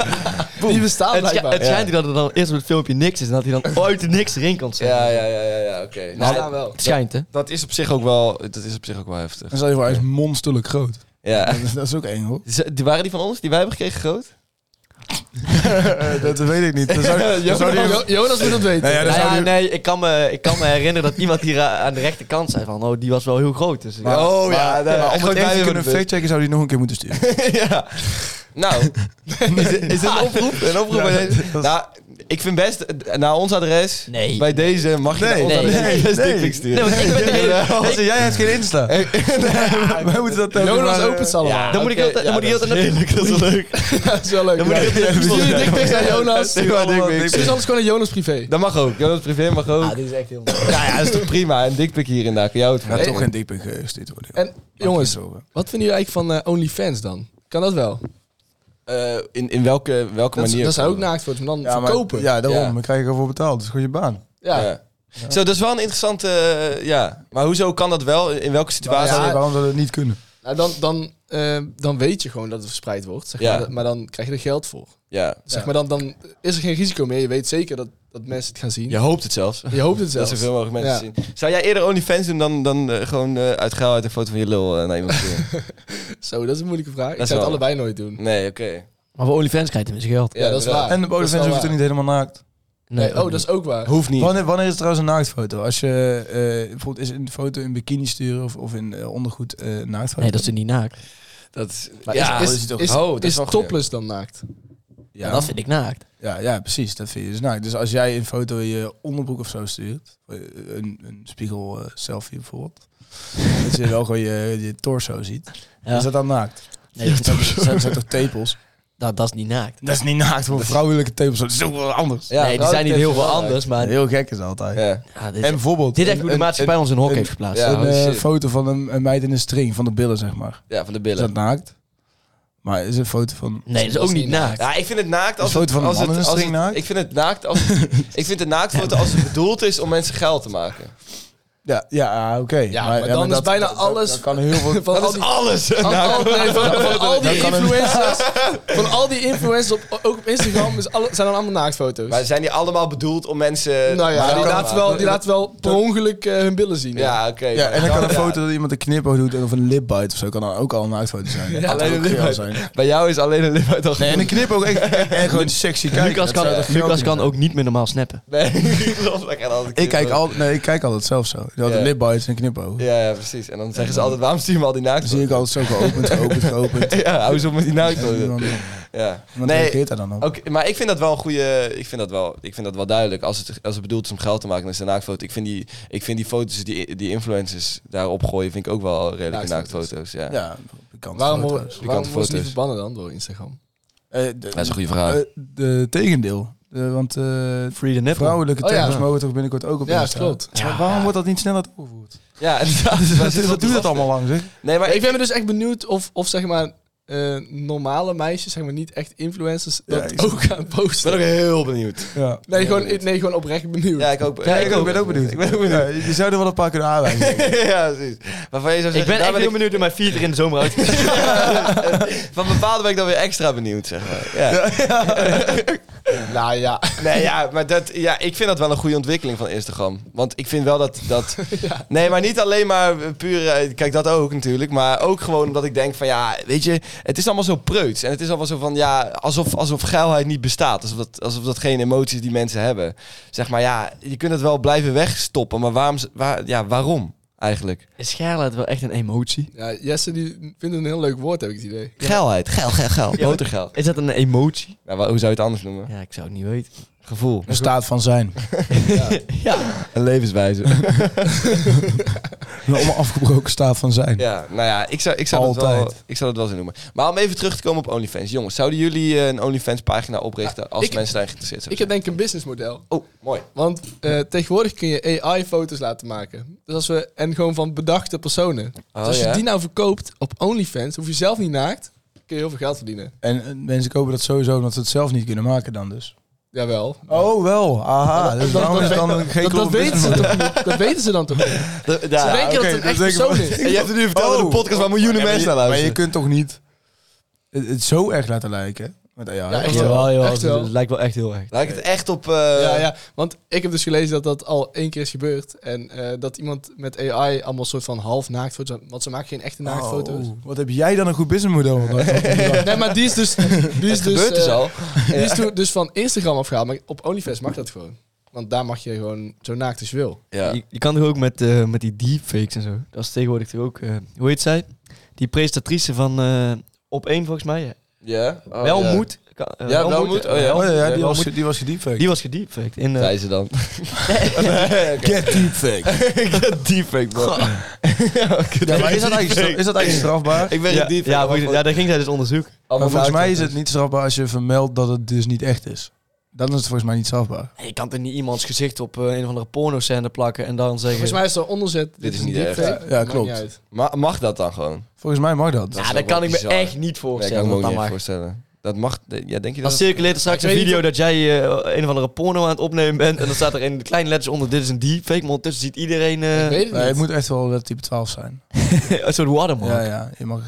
Speaker 4: Die bestaan
Speaker 5: Het, schi-
Speaker 4: blijkbaar.
Speaker 5: het schijnt ook dat er dan eerst op het filmpje niks is en dat hij dan ooit er niks erin kan zetten.
Speaker 3: Ja, ja, ja, ja, ja oké.
Speaker 4: Nou,
Speaker 3: Nou,
Speaker 4: bestaan wel.
Speaker 5: Het schijnt, hè?
Speaker 3: dat is op zich ook wel, dat is op zich ook wel heftig.
Speaker 6: Dan zal je voor, hij is monsterlijk groot.
Speaker 3: Ja.
Speaker 6: Dat is, dat is ook eng, hoor.
Speaker 3: Z- die- waren die van ons, die wij hebben gekregen, groot?
Speaker 6: Eh, dat weet ik niet. Dan zou, dan zou die-
Speaker 4: Jo- Jonas moet dat weten.
Speaker 6: Nou ja, dan
Speaker 5: Nou
Speaker 6: zou
Speaker 5: ja,
Speaker 6: die-
Speaker 5: nee, ik kan, me, ik kan me herinneren dat iemand hier eh, aan aan de rechterkant zei van, oh, die was wel heel groot. Dus, ja.
Speaker 3: oh ja,
Speaker 6: Maar om het echt te kunnen
Speaker 3: fake.
Speaker 6: factchecken zou die nog een keer moeten sturen.
Speaker 3: ja. Nou, is, het- is het een oproep? Een oproep bij deze? Nou, ik vind best, eh, naar ons adres,
Speaker 5: Nee.
Speaker 3: bij deze, mag je naar ons
Speaker 5: nee,
Speaker 3: adres
Speaker 5: nee,
Speaker 3: best
Speaker 6: nee.
Speaker 3: dickpics sturen.
Speaker 5: Nee, want ik ben de hele-
Speaker 6: Als jij hebt geen Insta. Wij moeten dat telkens
Speaker 4: Jonas
Speaker 6: maar, eh,
Speaker 4: opent ze allemaal.
Speaker 5: dan moet ik heel-
Speaker 3: oké,
Speaker 5: dan
Speaker 3: ja,
Speaker 5: moet ik heel-
Speaker 3: dat is
Speaker 5: dan-
Speaker 3: heerlijk, dat is wel leuk.
Speaker 4: Dat is wel leuk.
Speaker 3: moet ik-
Speaker 4: Ja. Stuur je dickpics aan Jonas.
Speaker 3: Stuur maar
Speaker 6: allemaal
Speaker 3: dickpics.
Speaker 4: Stuur ze anders gewoon naar Jonas privé.
Speaker 3: Dat mag ook. Jonas Privé mag ook.
Speaker 5: Ah, dit is echt heel...
Speaker 3: ja, ja, dat is toch prima. Een dikpik hier en daar. Kan jou het
Speaker 6: Ja,
Speaker 3: vervelen.
Speaker 6: toch geen dikpik gestuurd worden.
Speaker 4: En jongens,
Speaker 6: Maak je zorgen.
Speaker 4: wat vinden jullie eigenlijk van eh, OnlyFans dan? Kan dat wel?
Speaker 3: Eh, in, in welke, welke
Speaker 4: Dat,
Speaker 3: manier?
Speaker 4: dat zijn ook naaktfoto's, maar dan
Speaker 6: Ja, maar-
Speaker 4: verkopen.
Speaker 6: Ja, daarom.
Speaker 3: Ja.
Speaker 6: Dan krijg je ervoor betaald. Dat is gewoon je baan.
Speaker 4: nou- Ja.
Speaker 3: Ja. Zo, dat is wel een interessante... eh, ja. Maar hoezo kan dat wel? In welke situatie?
Speaker 4: Ja.
Speaker 6: Waarom zou dat niet kunnen?
Speaker 4: Nou, dan, dan, eh, dan weet je gewoon dat het verspreid wordt, zeg
Speaker 3: Ja.
Speaker 4: maar, maar dan krijg je er geld voor.
Speaker 3: Ja.
Speaker 4: Zeg maar, dan, dan is er geen risico meer. Je weet zeker dat, dat mensen het gaan zien.
Speaker 3: Je hoopt het zelfs.
Speaker 4: Je hoopt het
Speaker 3: Dat
Speaker 4: zelfs.
Speaker 3: zoveel mogelijk mensen
Speaker 4: Ja.
Speaker 3: zien. Zou jij eerder OnlyFans doen dan, dan eh, gewoon eh, uit geil uit een foto van je lul eh, naar iemand sturen?
Speaker 4: Zo, dat is een moeilijke vraag. Ik
Speaker 3: is
Speaker 4: zou het
Speaker 3: wel-
Speaker 4: allebei nooit doen.
Speaker 3: Nee, oké.
Speaker 5: Maar voor OnlyFans krijgt hij zijn geld.
Speaker 4: Ja, dat is waar.
Speaker 6: En de
Speaker 4: Dat is wel
Speaker 6: bodemfans hoeft
Speaker 4: waar.
Speaker 6: er niet helemaal naakt.
Speaker 4: Nee, oh, dat is ook waar.
Speaker 3: Hoeft niet.
Speaker 6: Wanneer, wanneer is het trouwens een naaktfoto? Als je eh, bijvoorbeeld is een foto in bikini sturen of, of in eh, ondergoed eh naaktfoto.
Speaker 5: Nee, dat is er niet naakt.
Speaker 3: Dat is,
Speaker 4: Maar
Speaker 3: ja,
Speaker 4: is,
Speaker 3: dat
Speaker 4: is,
Speaker 3: is
Speaker 4: is,
Speaker 3: toch-
Speaker 4: is,
Speaker 3: oh, dat is wel goed, ja.
Speaker 4: topless dan naakt?
Speaker 6: ja,
Speaker 5: Dat vind ik naakt.
Speaker 6: ja, ja, precies. Dat vind je dus naakt. Dus als jij een foto in je onderbroek of zo stuurt, eh, een, een spiegel eh, selfie bijvoorbeeld, dat je wel gewoon je, je torso ziet.
Speaker 5: Ja.
Speaker 6: Is dat dan naakt?
Speaker 5: Nee, dat,
Speaker 6: Dat zijn- dat zijn toch tepels?
Speaker 5: dat, dat is niet naakt.
Speaker 6: Dat is niet naakt voor vrouwelijke tepels. Dat is ook wel anders.
Speaker 3: Ja,
Speaker 5: nee, die zijn niet heel veel
Speaker 3: wel
Speaker 5: anders, maar...
Speaker 6: Heel gek is altijd.
Speaker 3: Ja.
Speaker 5: Ja, dit,
Speaker 6: En bijvoorbeeld
Speaker 5: dit is echt
Speaker 6: een-
Speaker 5: hoe de
Speaker 6: een-
Speaker 5: maatschappij ons in een hok heeft geplaatst. dus-
Speaker 3: Ja,
Speaker 6: een,
Speaker 3: holy
Speaker 6: eh,
Speaker 3: shit.
Speaker 6: foto van een, een meid in een string, van de billen zeg maar.
Speaker 3: ja, van de
Speaker 6: Is
Speaker 3: billen.
Speaker 6: dat naakt? Maar is een foto van...
Speaker 5: Nee, dat is ook niet naakt.
Speaker 3: Ja, ik vind het naakt als
Speaker 6: Een
Speaker 3: het,
Speaker 6: foto van een
Speaker 3: als het,
Speaker 6: man in een
Speaker 3: als
Speaker 6: string
Speaker 3: het-
Speaker 6: naakt?
Speaker 3: Ik vind het naakt als ik vind het naaktfoto als het bedoeld is om mensen geld te maken.
Speaker 6: Ja, ja ah, oké.
Speaker 4: Ja, maar, dan is
Speaker 6: dat-
Speaker 4: bijna
Speaker 6: dat-
Speaker 4: alles...
Speaker 6: dat kan heel veel...
Speaker 4: van al die,
Speaker 3: alles.
Speaker 4: van al- nee, van- van al die
Speaker 6: dat kan een-
Speaker 4: influencers... Van al die influencers, op, ook op Instagram, is alle, zijn dan allemaal naaktfoto's.
Speaker 3: Maar zijn die allemaal bedoeld om mensen
Speaker 4: nou ja,
Speaker 3: geld
Speaker 4: die
Speaker 3: te
Speaker 4: laten
Speaker 3: maken?
Speaker 4: wel, die laten wel per ongeluk eh, hun billen zien.
Speaker 3: Ja, oké.
Speaker 6: ja, en dan kan een
Speaker 3: Ja.
Speaker 6: foto dat iemand een knipoog doet en of een lipbite of zo kan dan ook al een naaktfoto zijn. Ja,
Speaker 3: alleen een lipbite. Bij jou is alleen een lip uit al
Speaker 6: Nee, en een
Speaker 3: genoeg.
Speaker 6: knipoog echt, echt, echt gewoon sexy kijken.
Speaker 5: Lucas
Speaker 6: Dat
Speaker 5: kan,
Speaker 6: zou toch
Speaker 5: Lucas
Speaker 6: geweldig
Speaker 5: kan
Speaker 6: zijn?
Speaker 5: ook niet meer normaal snappen.
Speaker 3: Nee, klopt, dat gaat altijd
Speaker 6: Ik kijk,
Speaker 3: knippen.
Speaker 6: al, nee, ik kijk altijd zelf zo. Je had
Speaker 3: Ja.
Speaker 6: een lipbite en een knipoog.
Speaker 3: Ja, ja, precies. En dan zeggen ze altijd, waarom sturen we al die naakt?
Speaker 6: Dan zie ik altijd zo geopend, geopend, geopend.
Speaker 3: Ja, hou eens op met die naakt.
Speaker 6: En dan-
Speaker 3: Ja.
Speaker 6: Wat reageert
Speaker 3: Nee,
Speaker 6: daar dan op?
Speaker 3: oké, maar ik vind dat wel een goede... Ik vind dat wel, ik vind dat wel duidelijk. Als het, als het bedoeld is om geld te maken, dan is het een naaktfoto. Ik vind die, ik vind die foto's die, die influencers daarop gooien, vind ik ook wel redelijke
Speaker 4: Naaktfoto's.
Speaker 3: naaktfoto's. Ja.
Speaker 6: Ja, pikante
Speaker 4: Waarom,
Speaker 6: foto's.
Speaker 4: worden- waarom worden ze niet
Speaker 3: foto's.
Speaker 4: verbannen dan door Instagram?
Speaker 6: Eh, de-
Speaker 3: Dat is een goede vraag.
Speaker 6: eh, de tegendeel. Eh, want eh,
Speaker 5: Free the nipple.
Speaker 6: vrouwelijke
Speaker 4: Oh ja.
Speaker 6: termen mogen toch binnenkort ook op
Speaker 4: Ja,
Speaker 6: Insta?
Speaker 4: klopt.
Speaker 6: Maar waarom wordt dat niet sneller doorgevoerd?
Speaker 3: Ja, inderdaad.
Speaker 6: Wat, wat duurt dat allemaal lang, zeg?
Speaker 3: Nee, maar
Speaker 4: Maar
Speaker 3: ik
Speaker 4: ik ben me dus echt benieuwd of, of zeg maar eh, normale meisjes, zeg maar niet echt influencers,
Speaker 6: Ja,
Speaker 4: dat
Speaker 6: ik-
Speaker 4: ook gaan
Speaker 3: Ik ben
Speaker 4: posten.
Speaker 3: ook heel benieuwd.
Speaker 6: Ja.
Speaker 4: Nee, gewoon, nee, gewoon oprecht benieuwd.
Speaker 3: Ja, ik ook.
Speaker 5: Ja, ik ook.
Speaker 3: ben ook benieuwd. Ik ben ook benieuwd.
Speaker 6: je zou er wel een paar kunnen aanwijzen.
Speaker 3: ja, precies. Waarvan je zou zeggen,
Speaker 5: Ik ben
Speaker 3: daar
Speaker 5: echt heel benieuwd hoe mijn feed er in de zomer uit.
Speaker 3: Van bepaalde ben ik dan weer extra benieuwd, zeg maar. Ja.
Speaker 4: Nou ja.
Speaker 3: Nee, ja, maar dat, ja, ik vind dat wel een goede ontwikkeling van Instagram. Want ik vind wel dat... dat Nee, maar niet alleen maar puur... eh, Kijk, dat ook natuurlijk. Maar ook gewoon omdat ik denk van, ja, weet je... Het is allemaal zo preuts. En het is allemaal zo van, ja, alsof, alsof geilheid niet bestaat. Alsof dat, alsof dat geen emoties die mensen hebben. Zeg maar, ja, je kunt het wel blijven wegstoppen. Maar waarom, waar, ja, waarom eigenlijk?
Speaker 5: Is Scarlett wel echt een emotie?
Speaker 4: ja, Jesse die vindt het een heel leuk woord, heb ik het idee.
Speaker 3: Geilheid, geil, geil, geil.
Speaker 5: Ja.
Speaker 3: Motorgeil.
Speaker 5: Is dat een emotie?
Speaker 3: Nou, wa- hoe zou je het anders noemen?
Speaker 5: Ja, ik zou het niet weten.
Speaker 3: Gevoel.
Speaker 6: Een staat van zijn.
Speaker 5: Ja.
Speaker 3: Een levenswijze.
Speaker 6: Een allemaal afgebroken staat van zijn.
Speaker 3: Ja, nou ja, ik zou, ik zou, dat wel,
Speaker 6: Altijd.
Speaker 3: ik zou dat wel zo noemen. Maar om even terug te komen op OnlyFans. Jongens, zouden jullie eh, een OnlyFans pagina oprichten als
Speaker 4: Ah, ik-
Speaker 3: mensen daarin geïnteresseerd zijn?
Speaker 4: Ik heb denk ik een businessmodel.
Speaker 3: Oh, mooi.
Speaker 4: Want eh, tegenwoordig kun je AI foto's laten maken. Dus als we, en gewoon van bedachte personen.
Speaker 3: Oh,
Speaker 4: dus als je
Speaker 3: ja?
Speaker 4: die nou verkoopt op OnlyFans, hoef je zelf niet naakt, kun je heel veel geld verdienen.
Speaker 6: En eh, mensen kopen dat sowieso omdat ze het zelf niet kunnen maken dan dus.
Speaker 4: Jawel.
Speaker 6: Oh, wel. Aha. Dus daarom is dan geen
Speaker 4: Dat, dat,
Speaker 6: klopt Oh.
Speaker 4: weten ze toch niet? dat weten ze dan toch niet? Ze denken dat
Speaker 6: oké,
Speaker 3: dus
Speaker 4: het een
Speaker 6: dat
Speaker 4: echt
Speaker 6: denk ik wel.
Speaker 4: persoon is.
Speaker 3: En je hebt het nu verteld in
Speaker 6: Oh.
Speaker 3: de podcast waar miljoenen mensen naar
Speaker 6: Maar je
Speaker 3: luisteren.
Speaker 6: kunt toch niet het, het zo erg laten lijken? Met AI.
Speaker 4: Ja, echt
Speaker 6: Ja.
Speaker 4: wel. Echt
Speaker 5: Het,
Speaker 4: wel.
Speaker 5: het lijkt wel echt heel erg.
Speaker 3: Lijkt het echt op... eh,
Speaker 4: Ja, ja, want ik heb dus gelezen dat dat al één keer is gebeurd. En eh, dat iemand met AI allemaal soort van half naaktfoto's... Want ze maken geen echte naaktfoto's.
Speaker 6: Oh, wat heb jij dan een goed businessmodel?
Speaker 4: Nee, maar die is dus... Die is
Speaker 3: Het gebeurt dus
Speaker 4: eh,
Speaker 3: al.
Speaker 4: Die is toen dus van Instagram afgehaald. Maar op OnlyFans mag dat gewoon. Want daar mag je gewoon zo naakt als je wil.
Speaker 3: Ja.
Speaker 5: Je, je kan toch ook met, eh, met die deepfakes en zo. Dat is tegenwoordig toch ook... eh, hoe heet zij? Die presentatrice van eh op één volgens mij.
Speaker 3: Ja. Oh,
Speaker 5: wel
Speaker 3: ja.
Speaker 5: moet. kan- eh,
Speaker 3: Ja, wel moet. Oh, ja.
Speaker 6: Oh, ja, die,
Speaker 3: Wel
Speaker 6: was,
Speaker 3: moet.
Speaker 6: die was gediepfaked.
Speaker 5: Die was gediepfaked. In, eh,
Speaker 3: Zei ze dan.
Speaker 6: Get deepfaked.
Speaker 3: Deepfake, bro.
Speaker 6: Ja, maar is, dat eigenlijk, stra- is dat eigenlijk strafbaar?
Speaker 3: Ik ben
Speaker 5: ja,
Speaker 3: een deepfake.
Speaker 5: ja,
Speaker 3: maar
Speaker 5: hoe- ja, daar ging zij dus onderzoek.
Speaker 6: Maar volgens mij is het niet strafbaar als je vermeldt dat het dus niet echt is. Dan is het volgens mij niet strafbaar.
Speaker 5: Je kan toch niet iemands gezicht op eh, een of andere porno-scène plakken en dan zeggen...
Speaker 4: Volgens mij is er onderzet.
Speaker 3: Dit is niet
Speaker 4: deepfake.
Speaker 6: echt. Ja,
Speaker 4: Maakt
Speaker 6: klopt.
Speaker 4: niet uit.
Speaker 3: Ma- mag dat dan gewoon?
Speaker 6: Volgens mij mag dat.
Speaker 3: is
Speaker 5: ja,
Speaker 3: wel
Speaker 5: dat kan ik me
Speaker 3: bizar.
Speaker 5: echt niet
Speaker 3: Nee, ik kan
Speaker 5: voorstellen.
Speaker 3: me ook niet
Speaker 5: dat dat mag.
Speaker 3: voorstellen. Dat mag... Ja, denk je
Speaker 5: Dan
Speaker 3: dat...
Speaker 5: circuleert er straks
Speaker 4: Ik
Speaker 5: een
Speaker 4: weet niet
Speaker 5: video dat jij eh, een of andere porno aan het opnemen bent. En dan staat er in kleine letters onder, dit is een deepfake. Maar ondertussen ziet iedereen eh,
Speaker 4: Ik weet het
Speaker 6: Nee, het
Speaker 4: niet.
Speaker 6: moet echt wel eh, type 12 zijn.
Speaker 5: een soort watermark.
Speaker 6: Ja, ja. Je mag...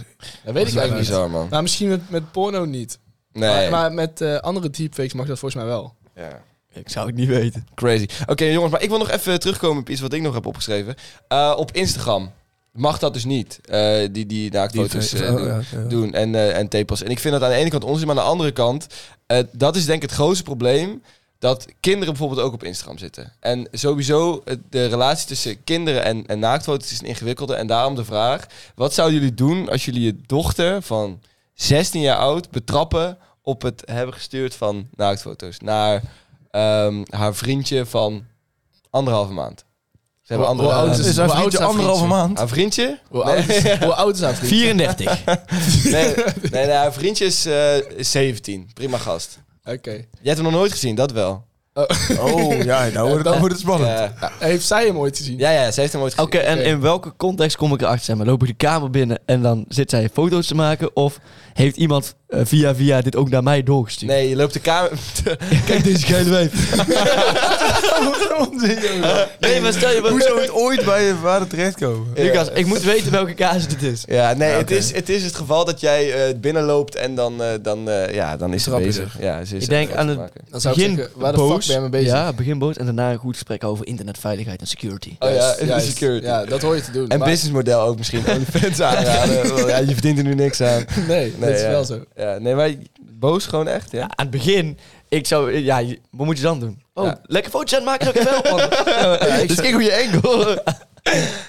Speaker 4: Dat weet
Speaker 3: Dat
Speaker 4: ik
Speaker 3: is echt
Speaker 4: eigenlijk niet.
Speaker 3: bizar, man.
Speaker 4: Maar misschien met, met porno niet.
Speaker 3: Nee.
Speaker 4: Maar, maar met eh, andere deepfakes mag dat volgens mij wel.
Speaker 3: Ja.
Speaker 5: Ik zou het niet weten.
Speaker 3: Crazy. Oké, jongens, maar ik wil nog even terugkomen op iets wat ik nog heb opgeschreven. Eh, op Instagram mag dat dus niet, eh, die, die naaktfoto's eh,
Speaker 6: Oh,
Speaker 3: doen,
Speaker 6: ja, ja.
Speaker 3: doen en, eh en tepels. En ik vind dat aan de ene kant onzin, maar aan de andere kant, eh, dat is denk ik het grootste probleem. Dat kinderen bijvoorbeeld ook op Instagram zitten. En sowieso, eh, de relatie tussen kinderen en, en naaktfoto's is een ingewikkelde. En daarom de vraag, wat zouden jullie doen als jullie je dochter van 16 jaar oud betrappen op het hebben gestuurd van naaktfoto's naar ehm, haar vriendje van anderhalve maand. Ze hebben
Speaker 4: Hoe
Speaker 3: anderhalve
Speaker 4: oud
Speaker 6: is haar
Speaker 4: hoe oud
Speaker 6: vriendje
Speaker 4: haar
Speaker 6: anderhalve
Speaker 4: vriendje?
Speaker 6: maand?
Speaker 3: Haar vriendje?
Speaker 4: Hoe oud is- hoe oud is haar vriendje?
Speaker 5: 34.
Speaker 3: Nee, nee, nee, haar vriendje is, eh, is 17. Prima gast.
Speaker 4: Oké.
Speaker 3: Jij hebt hem nog nooit gezien, dat wel.
Speaker 6: Oh, ja, nou wordt het, nou wordt het spannend.
Speaker 3: Eh,
Speaker 4: Heeft zij hem ooit gezien?
Speaker 3: ja, ja, ze heeft hem ooit
Speaker 5: Oké,
Speaker 3: gezien.
Speaker 5: en in welke context kom ik erachter? Zeg maar, loop ik de kamer binnen en dan zit zij foto's te maken? Of heeft iemand eh, via via dit ook naar mij doorgestuurd?
Speaker 3: Nee, je loopt de kamer... Kijk deze geile wijf.
Speaker 5: Nee, maar stel je...
Speaker 6: Hoe zou het ooit bij je vader terechtkomen?
Speaker 5: Lucas, ik moet weten welke kaas dit is.
Speaker 3: Ja, nee, het,
Speaker 6: oké.
Speaker 3: is, het is het geval dat jij eh binnenloopt en dan, eh, dan, eh, ja, dan is ze
Speaker 6: Trap is
Speaker 3: bezig. Ja, ze is
Speaker 5: Ik denk
Speaker 3: aan
Speaker 5: aan
Speaker 3: te
Speaker 5: het-
Speaker 3: maken.
Speaker 4: Dan zou ik zeggen, waar de fuck ben je mee bezig?
Speaker 5: Ja, begin boos en daarna een goed gesprek over internetveiligheid en security.
Speaker 3: Oh ja,
Speaker 4: Juist,
Speaker 3: en
Speaker 4: juist.
Speaker 3: security.
Speaker 4: Ja, dat hoor je te doen.
Speaker 3: En
Speaker 4: maar-
Speaker 3: businessmodel ook misschien. OnlyFans aanraden. Want ja, je verdient er nu niks aan.
Speaker 4: Nee, dat is
Speaker 3: ja.
Speaker 4: wel zo. Oh,
Speaker 3: Ja, nee, maar boos gewoon echt, ja?
Speaker 5: Ja, aan het begin, ik zou... Ja, je- wat moet je dan doen? Oh,
Speaker 3: Ja.
Speaker 5: lekker foto's aan het maken is ook even
Speaker 4: oh,
Speaker 5: helpen.
Speaker 3: dus kijk hoe je enkel...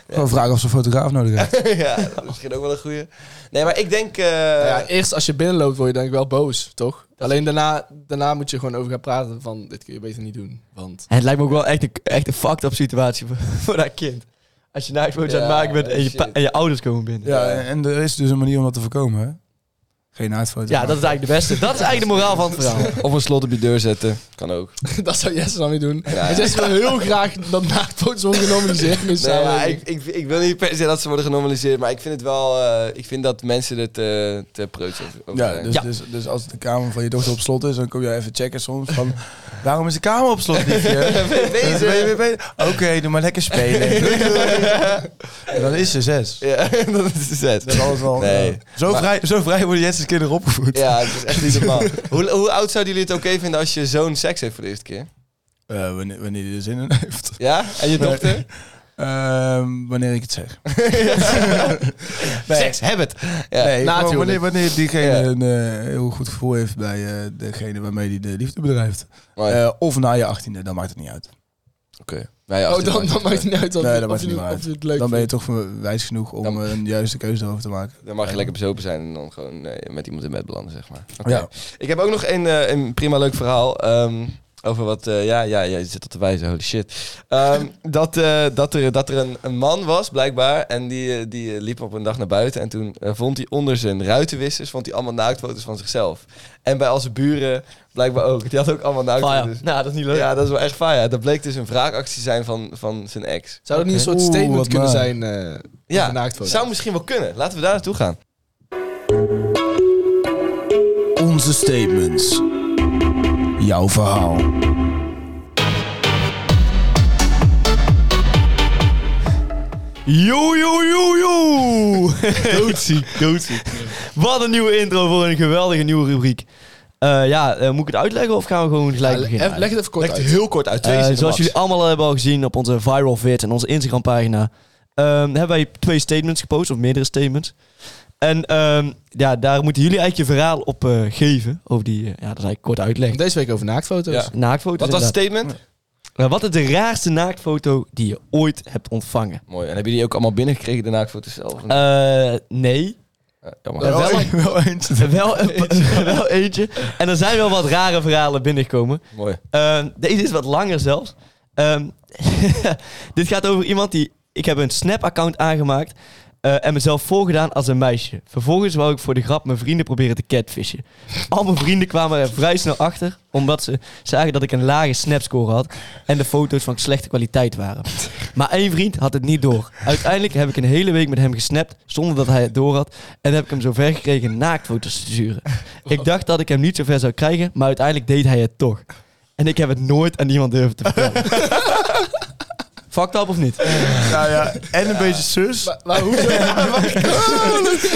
Speaker 6: Gewoon vragen of ze een fotograaf nodig heeft.
Speaker 3: ja, dat is misschien ook wel een goeie. Nee, maar ik denk... eh,
Speaker 4: Nou ja, eerst als je binnenloopt word je denk ik wel boos, toch? Alleen daarna, daarna moet je gewoon over gaan praten van dit kun je beter niet doen. Want
Speaker 5: En het lijkt me ook wel echt een, echt een fucked up situatie voor, voor dat kind. Als je naaktfoto's aan het
Speaker 3: Ja,
Speaker 5: maken bent en je,
Speaker 3: shit.
Speaker 5: pa- en je ouders komen binnen.
Speaker 6: Ja, en er is dus een manier om dat te voorkomen, hè? Geen naadfoto.
Speaker 5: Ja, dat is eigenlijk de beste. Dat is eigenlijk de moraal van het verhaal.
Speaker 3: Of een slot op je deur zetten. Kan ook.
Speaker 4: dat zou Jesse dan weer doen.
Speaker 3: Ja.
Speaker 4: Maar Jesse wil heel graag dat naaktfoto's worden genormaliseerd. Nee,
Speaker 3: Nee,
Speaker 4: samen.
Speaker 3: maar ik, ik, ik wil niet per se dat ze worden genormaliseerd, maar ik vind het wel... eh, ik vind dat mensen het te, te preuts over- over
Speaker 6: Ja,
Speaker 3: zijn.
Speaker 6: dus,
Speaker 5: Ja.
Speaker 6: Dus, dus als de kamer van je dochter op slot is, dan kom je even checken soms van... Waarom is de kamer op slot, liefje? Dus
Speaker 3: Deze.
Speaker 6: Ben je weer bezig? Oké, doe maar lekker spelen. en dan is ze zes.
Speaker 3: Ja, dat is de set.
Speaker 6: Dat is alles wel...
Speaker 3: Nee.
Speaker 6: eh, zo,
Speaker 3: Maar-
Speaker 6: vrij, zo vrij worden Jesse's kinderen opgevoed.
Speaker 3: Ja, het is echt niet normaal. hoe, hoe oud zouden jullie het oké vinden als je zoon seks heeft voor de eerste keer?
Speaker 6: Eh, wanneer, wanneer hij er zin in heeft.
Speaker 3: Ja? En je dochter?
Speaker 6: Ehm, wanneer ik het zeg.
Speaker 3: Seks, heb het! Ja.
Speaker 6: Nee,
Speaker 4: na
Speaker 6: gewoon
Speaker 4: het
Speaker 6: wanneer,
Speaker 4: huwelijk.
Speaker 6: wanneer diegene
Speaker 3: Ja.
Speaker 6: een eh, heel goed gevoel heeft bij eh, degene waarmee hij de liefde bedrijft.
Speaker 4: Oh
Speaker 3: Mooi.
Speaker 6: Eh, of na je achttiende, dan maakt het niet uit.
Speaker 3: Oké. Nou ja,
Speaker 4: Oh, dan,
Speaker 3: 18
Speaker 4: dan maakt het niet uit of,
Speaker 6: Nee,
Speaker 4: je-
Speaker 6: dat
Speaker 4: of,
Speaker 6: maakt
Speaker 4: je,
Speaker 6: niet
Speaker 4: het-
Speaker 6: uit.
Speaker 4: of je het leuk
Speaker 6: dan ben je
Speaker 4: vindt.
Speaker 6: toch wijs genoeg om
Speaker 3: Dan-
Speaker 6: eh, een juiste keuze over te maken.
Speaker 3: Dan mag je lekker bezopen zijn en dan gewoon eh, met iemand in bed belanden, zeg maar. Oké.
Speaker 6: Ja.
Speaker 3: Ik heb ook nog een, eh, een prima leuk verhaal. ehm, over wat... eh, ja, ja, ja, je zit al te wijzen. Holy shit. Ehm, dat, eh, dat er, dat er een, een man was, blijkbaar. En die, eh, die eh, liep op een dag naar buiten. En toen eh, vond hij onder zijn ruitenwissers... vond hij allemaal naaktfoto's van zichzelf. En bij al zijn buren blijkbaar ook. Die had ook allemaal
Speaker 5: Fire.
Speaker 3: naaktfoto's.
Speaker 5: Nou, dat is niet leuk.
Speaker 3: Ja, dat is wel echt fijn. Ja. Dat bleek dus een wraakactie te zijn van, van zijn ex.
Speaker 4: Zou dat niet een soort
Speaker 6: Oeh,
Speaker 4: statement
Speaker 6: wat
Speaker 4: kunnen
Speaker 6: maar.
Speaker 4: zijn? eh
Speaker 3: Ja,
Speaker 4: een naaktfoto.
Speaker 3: zou misschien wel kunnen. Laten we daar naartoe gaan.
Speaker 6: Onze statements. Jouw verhaal.
Speaker 5: Yo, yo, yo, yo! doodziek, doodziek. Wat een nieuwe intro voor een geweldige nieuwe rubriek. Eh, ja, eh, moet ik het uitleggen of gaan we gewoon gelijk
Speaker 4: Ja, le-
Speaker 5: beginnen?
Speaker 4: even- leg het even kort
Speaker 3: Legt
Speaker 4: uit.
Speaker 3: heel kort uit. Twee
Speaker 5: Eh,
Speaker 3: zinnen
Speaker 5: zoals
Speaker 3: max.
Speaker 5: jullie allemaal hebben al gezien op onze viral vid en onze Instagram pagina, ehm, hebben wij twee statements gepost, of meerdere statements. En ehm, ja, daar moeten jullie eigenlijk je verhaal op eh, geven. Over die, eh, ja, dat is eigenlijk kort uitleg.
Speaker 4: Deze week over naaktfoto's.
Speaker 3: Ja.
Speaker 5: Naaktfoto's.
Speaker 3: Wat was het
Speaker 5: inderdaad.
Speaker 3: statement?
Speaker 5: Eh, wat is de raarste naaktfoto die je ooit hebt ontvangen?
Speaker 3: Mooi. En hebben jullie ook allemaal binnengekregen daarna voor het zelf?
Speaker 5: Eh, nee. Eh,
Speaker 3: Ja, jammer.
Speaker 5: wel
Speaker 6: Wel,
Speaker 5: een-
Speaker 6: wel eentje.
Speaker 5: wel, een- wel eentje. En er zijn wel wat rare verhalen binnengekomen.
Speaker 3: Mooi.
Speaker 5: Ehm, deze is wat langer zelfs. Ehm, dit gaat over iemand die... Ik heb een Snap-account aangemaakt eh, en mezelf voorgedaan als een meisje. Vervolgens wou ik voor de grap mijn vrienden proberen te catfishen. Al mijn vrienden kwamen er vrij snel achter, omdat ze zagen dat ik een lage Snap-score had en de foto's van slechte kwaliteit waren. Maar één vriend had het niet door. Uiteindelijk heb ik een hele week met hem gesnapt zonder dat hij het door had en heb ik hem zover gekregen naaktfoto's te sturen. Ik dacht dat ik hem niet zover zou krijgen, maar uiteindelijk deed hij het toch. En ik heb het nooit aan iemand durven te vertellen. Fucked up of niet?
Speaker 6: Nou ja, en een beetje zus.
Speaker 4: Maar, maar hoezo?
Speaker 6: dus-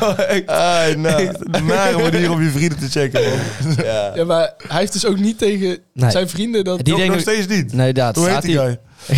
Speaker 3: Ah,
Speaker 6: Echt Naar om hier om je vrienden te checken. man.
Speaker 3: ja.
Speaker 4: ja, maar hij heeft dus ook niet tegen
Speaker 5: Nee.
Speaker 4: zijn vrienden dat...
Speaker 5: Die
Speaker 6: Nog-
Speaker 5: denken-
Speaker 6: Nog steeds niet.
Speaker 5: Nee, daad.
Speaker 6: Hoe heet
Speaker 5: Staat
Speaker 6: die
Speaker 5: hier.
Speaker 6: guy?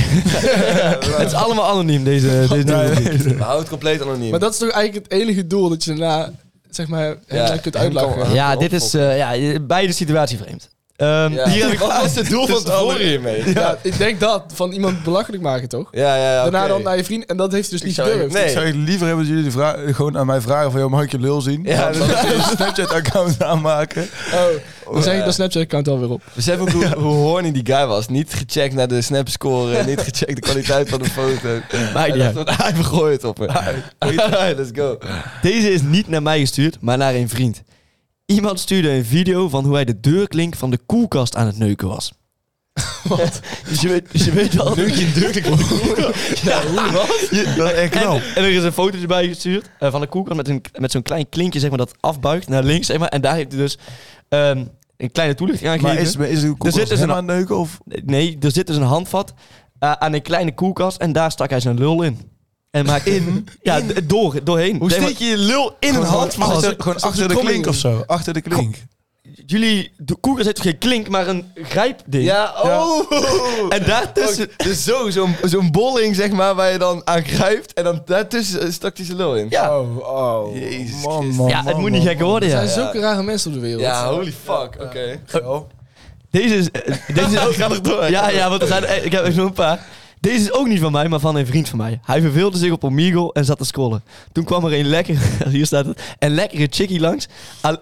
Speaker 5: Het is allemaal anoniem, deze, deze
Speaker 6: Ja,
Speaker 5: nieuwe rubriek.
Speaker 3: We houden het compleet anoniem.
Speaker 4: Maar dat is toch eigenlijk het enige doel dat je daarna, zeg maar, hem
Speaker 3: Ja,
Speaker 4: daar kunt
Speaker 3: hem kan-
Speaker 4: uitlachen.
Speaker 3: Ja.
Speaker 5: Ja, dit is eh, ja, beide situatie vreemd. Ehm,
Speaker 3: Ja.
Speaker 5: Hier heb ik
Speaker 3: Wat was het doel van tevoren hiermee? Ja,
Speaker 4: Dus Ja, ik denk dat, van iemand belachelijk maken, toch?
Speaker 3: ja, ja.
Speaker 4: Daarna
Speaker 3: oké.
Speaker 4: dan naar je vriend, en dat heeft hij dus
Speaker 3: Ik
Speaker 4: niet
Speaker 3: zou-
Speaker 4: gedurfd.
Speaker 3: nee.
Speaker 6: Ik zou liever hebben dat jullie de vraag, gewoon aan mij vragen van... Joh, mag ik je lul zien?
Speaker 3: Ja,
Speaker 6: Dan
Speaker 3: dat-
Speaker 6: zou ik een Snapchat-account aanmaken.
Speaker 4: Oh, dan zeg ik dat Snapchat-account alweer op.
Speaker 3: Besef ook hoe, hoe horny die guy was. Niet gecheckt naar de snapscore, niet gecheckt de kwaliteit van de foto.
Speaker 5: Maakt
Speaker 3: Hij
Speaker 5: niet
Speaker 3: dacht,
Speaker 5: uit.
Speaker 3: wat hij vergooid op me. Alright, Let's go.
Speaker 5: Deze is niet naar mij gestuurd, maar naar een vriend. Iemand stuurde een video van hoe hij de deurklink van de koelkast aan het neuken was. Wat? Dus je weet, dus je weet wel... Neuk je deurklink van de koelkast? Ja, hoe wat?
Speaker 6: Dat is echt knap.
Speaker 5: En, en er is een fotootje bij gestuurd eh, van de koelkast met, een, met zo'n klein klinkje zeg maar, dat afbuigt naar links. Zeg maar, en daar heeft hij dus ehm, een kleine toelichting aan
Speaker 6: Maar
Speaker 5: gegeven.
Speaker 6: is, is de koelkast
Speaker 5: zit dus
Speaker 6: hem
Speaker 5: een-
Speaker 6: aan het neuken of...
Speaker 5: Nee, er zit dus een handvat eh, aan een kleine koelkast en daar stak hij zijn lul in. En maakte in? Ja, d- door, doorheen.
Speaker 3: Hoe
Speaker 5: Zeg maar,
Speaker 3: steek je je lul in een hand?
Speaker 6: Gewoon achter, gewoon
Speaker 4: is
Speaker 6: achter
Speaker 4: een
Speaker 6: de
Speaker 4: kromming.
Speaker 6: klink of zo. Achter de klink.
Speaker 5: Jullie, de koelkast heeft toch geen klink, maar een grijpding?
Speaker 3: Ja, oh!
Speaker 5: En daartussen...
Speaker 3: Ook, dus zo, zo'n zo'n bolling, zeg maar, waar je dan aan grijpt. En dan daartussen eh, stak hij zijn lul in.
Speaker 5: Ja,
Speaker 6: Oh, oh.
Speaker 3: Jezus
Speaker 6: man,
Speaker 3: Christus.
Speaker 6: man,
Speaker 5: ja het
Speaker 6: man,
Speaker 5: moet niet
Speaker 6: man.
Speaker 5: gekker worden,
Speaker 4: Er
Speaker 5: ja.
Speaker 4: zijn zulke rare mensen op de wereld.
Speaker 3: Ja, holy fuck. Oké.
Speaker 5: Deze is... eh, Deze is
Speaker 3: Ga nog door.
Speaker 5: Ja, ja, want er zijn, eh, ik heb er zo'n paar. Deze is ook niet van mij, maar van een vriend van mij. Hij verveelde zich op Omegle en zat te scrollen. Toen kwam er een lekker, hier staat het, een lekkere chickie langs. Al-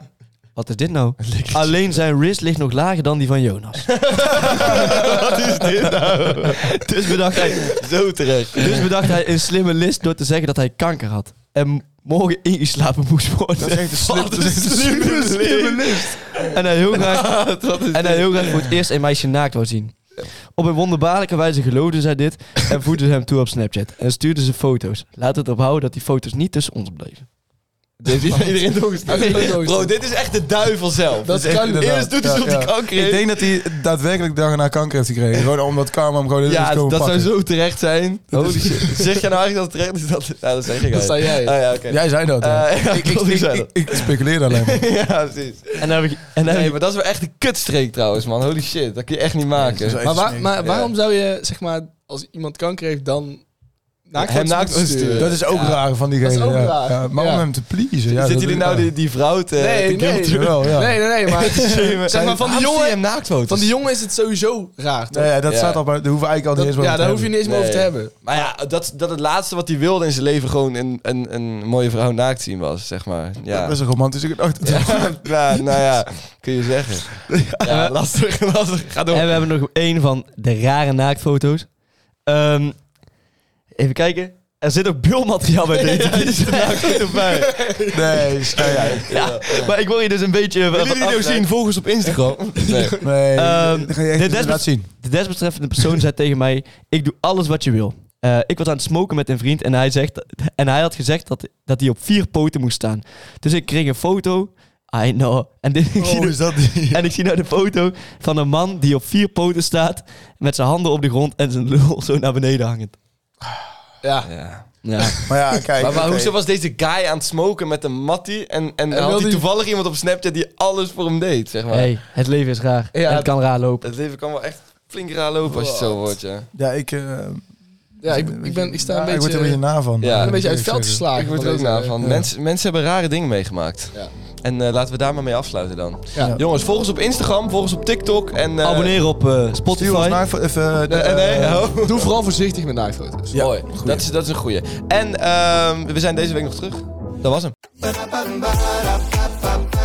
Speaker 5: wat is dit nou? Alleen zijn wrist ligt nog lager dan die van Jonas. wat is dit nou? Dus bedacht hij,
Speaker 3: Zo terecht.
Speaker 5: dus bedacht hij een slimme list door te zeggen dat hij kanker had. En morgen ingeslapen moest worden.
Speaker 3: Dat is echt een slim-
Speaker 5: Wat
Speaker 3: dat is echt een slimme- slimme
Speaker 5: En hij heel graag, en hij heel graag voor het eerst een meisje naakt wou zien. Op een wonderbaarlijke wijze geloofden zij dit en voerden ze hem toe op Snapchat. En stuurden ze foto's. Laat het ophouden dat die foto's niet tussen ons bleven.
Speaker 3: Dit heeft iedereen doorgestuurd.
Speaker 4: doorgestuurd.
Speaker 3: Bro, dit is echt de duivel zelf.
Speaker 4: Dat
Speaker 3: is echt-
Speaker 4: kan
Speaker 6: inderdaad.
Speaker 3: Eerst doet hij
Speaker 6: Ja,
Speaker 3: alsof hij
Speaker 6: ja.
Speaker 3: kanker
Speaker 6: Ik
Speaker 3: heeft.
Speaker 6: denk dat hij daadwerkelijk dag na kanker heeft gekregen. Gewoon omdat karma hem gewoon in de
Speaker 3: Ja,
Speaker 6: is
Speaker 3: dat
Speaker 6: komen pakken.
Speaker 3: zou zo terecht zijn. Holy shit. Zeg jij nou eigenlijk dat het terecht is? Dat, nou, dat zeg ik
Speaker 4: Dat zei jij.
Speaker 3: Ah, ja, oké.
Speaker 6: Jij zei dat. hè?
Speaker 3: Eh, ja,
Speaker 6: ik, ik,
Speaker 3: klopt, ik
Speaker 6: ik,
Speaker 3: zei
Speaker 6: ik, ik speculeer alleen maar.
Speaker 3: ja, precies.
Speaker 5: En dan heb ik, en dan heb
Speaker 3: Nee,
Speaker 5: ik-
Speaker 3: maar dat is wel echt een kutstreek trouwens, man. Holy shit, dat kun je echt niet
Speaker 6: Dat is wel
Speaker 3: maken.
Speaker 6: echt
Speaker 4: Maar, waar-
Speaker 6: smerig.
Speaker 4: maar waarom zou je, zeg maar, als iemand kanker heeft, dan naakt
Speaker 3: Hem
Speaker 4: foto's
Speaker 3: naakt
Speaker 4: moeten
Speaker 3: sturen.
Speaker 6: Dat is ook raar van diegene.
Speaker 4: Dat is ook
Speaker 6: ja.
Speaker 4: raar.
Speaker 6: Ja, maar om
Speaker 4: Ja.
Speaker 6: hem te pleasen. Ja,
Speaker 3: Zitten
Speaker 6: dat-
Speaker 3: jullie nou
Speaker 6: ja.
Speaker 3: die, die vrouw te...
Speaker 6: eh,
Speaker 4: Nee, nee.
Speaker 6: guilty wel, ja.
Speaker 4: Nee, nee, nee, maar zeg maar, van, die jongen,
Speaker 3: naaktfoto's.
Speaker 4: van die jongen is het sowieso raar, toch?
Speaker 6: Nee, ja, dat
Speaker 3: Ja.
Speaker 6: staat al bij. Daar hoeven we eigenlijk al niet
Speaker 4: Dat-
Speaker 6: eens meer
Speaker 4: ja,
Speaker 6: over te
Speaker 4: daar hoef je
Speaker 6: hebben.
Speaker 4: niet eens meer over te
Speaker 3: Nee.
Speaker 4: hebben.
Speaker 3: Maar ja, dat, dat het laatste wat hij wilde in zijn leven gewoon een, een, een mooie vrouw naakt zien was, zeg maar. Ja.
Speaker 6: Dat is een romantische gedachte.
Speaker 3: ja, nou ja, kun je zeggen. Ja, lastig, lastig. Ga
Speaker 5: en
Speaker 3: door.
Speaker 5: we hebben nog één van de rare naaktfoto's. Ehm, even kijken. Er zit ook beeldmateriaal bij deze. Die zijn naaktfoto bij.
Speaker 6: Nee, schijn uit.
Speaker 5: Ja, maar ik wil je dus een beetje... van
Speaker 6: nou
Speaker 5: afleiden.
Speaker 3: Volgens op Instagram. Nee.
Speaker 6: Nee,
Speaker 5: Ehm,
Speaker 6: dat ga je echt
Speaker 5: dit
Speaker 6: niet
Speaker 5: is-
Speaker 6: laten zien.
Speaker 5: De desbetreffende persoon zei tegen mij: Ik doe alles wat je wil. Eh, ik was aan het smoken met een vriend en hij, zegt, en hij had gezegd dat, dat hij op vier poten moest staan. Dus ik kreeg een foto. I know. En, dit, ik zie dus-
Speaker 6: Oh, dat
Speaker 5: en ik zie nou de foto van een man die op vier poten staat. Met zijn handen op de grond en zijn lul zo naar beneden hangend.
Speaker 4: Ja.
Speaker 3: Ja.
Speaker 5: Ja.
Speaker 6: Maar ja, kijk.
Speaker 3: Maar, maar
Speaker 6: oké.
Speaker 3: hoezo was deze guy aan het smoken met een mattie en, en, had
Speaker 4: wilde
Speaker 3: hij
Speaker 4: hij-
Speaker 3: toevallig iemand op Snapchat die alles voor hem deed, zeg maar.
Speaker 5: Hey, het leven is raar.
Speaker 4: Ja.
Speaker 5: en het kan raar lopen.
Speaker 3: Het leven kan wel echt flink raar lopen als je het zo wordt, ja.
Speaker 6: Ja, ik... eh,
Speaker 4: Ja, ik,
Speaker 6: weet
Speaker 4: ik,
Speaker 6: je,
Speaker 4: ben, ik sta
Speaker 6: ja,
Speaker 4: een
Speaker 6: Ik word er een beetje
Speaker 4: beetje, eh,
Speaker 6: na van.
Speaker 3: Ja,
Speaker 4: een beetje uit het veld geslagen.
Speaker 6: geslagen.
Speaker 3: Ik word
Speaker 4: van
Speaker 3: er ook
Speaker 4: deze-
Speaker 3: na van. Mensen, mensen hebben rare dingen meegemaakt.
Speaker 4: Ja.
Speaker 3: En eh, laten we daar maar mee afsluiten dan.
Speaker 4: Ja.
Speaker 3: Jongens, volg ons op Instagram, volg ons op TikTok en... eh,
Speaker 5: Abonneer op eh,
Speaker 6: Stuur ons
Speaker 5: Spotify.
Speaker 6: maar even... even
Speaker 3: eh, nee, oh.
Speaker 4: Doe vooral voorzichtig met naaktfoto's.
Speaker 6: Ja,
Speaker 3: Mooi,
Speaker 6: goeie.
Speaker 3: dat is, dat is een goeie. En ehm, we zijn deze week nog terug. Dat was hem.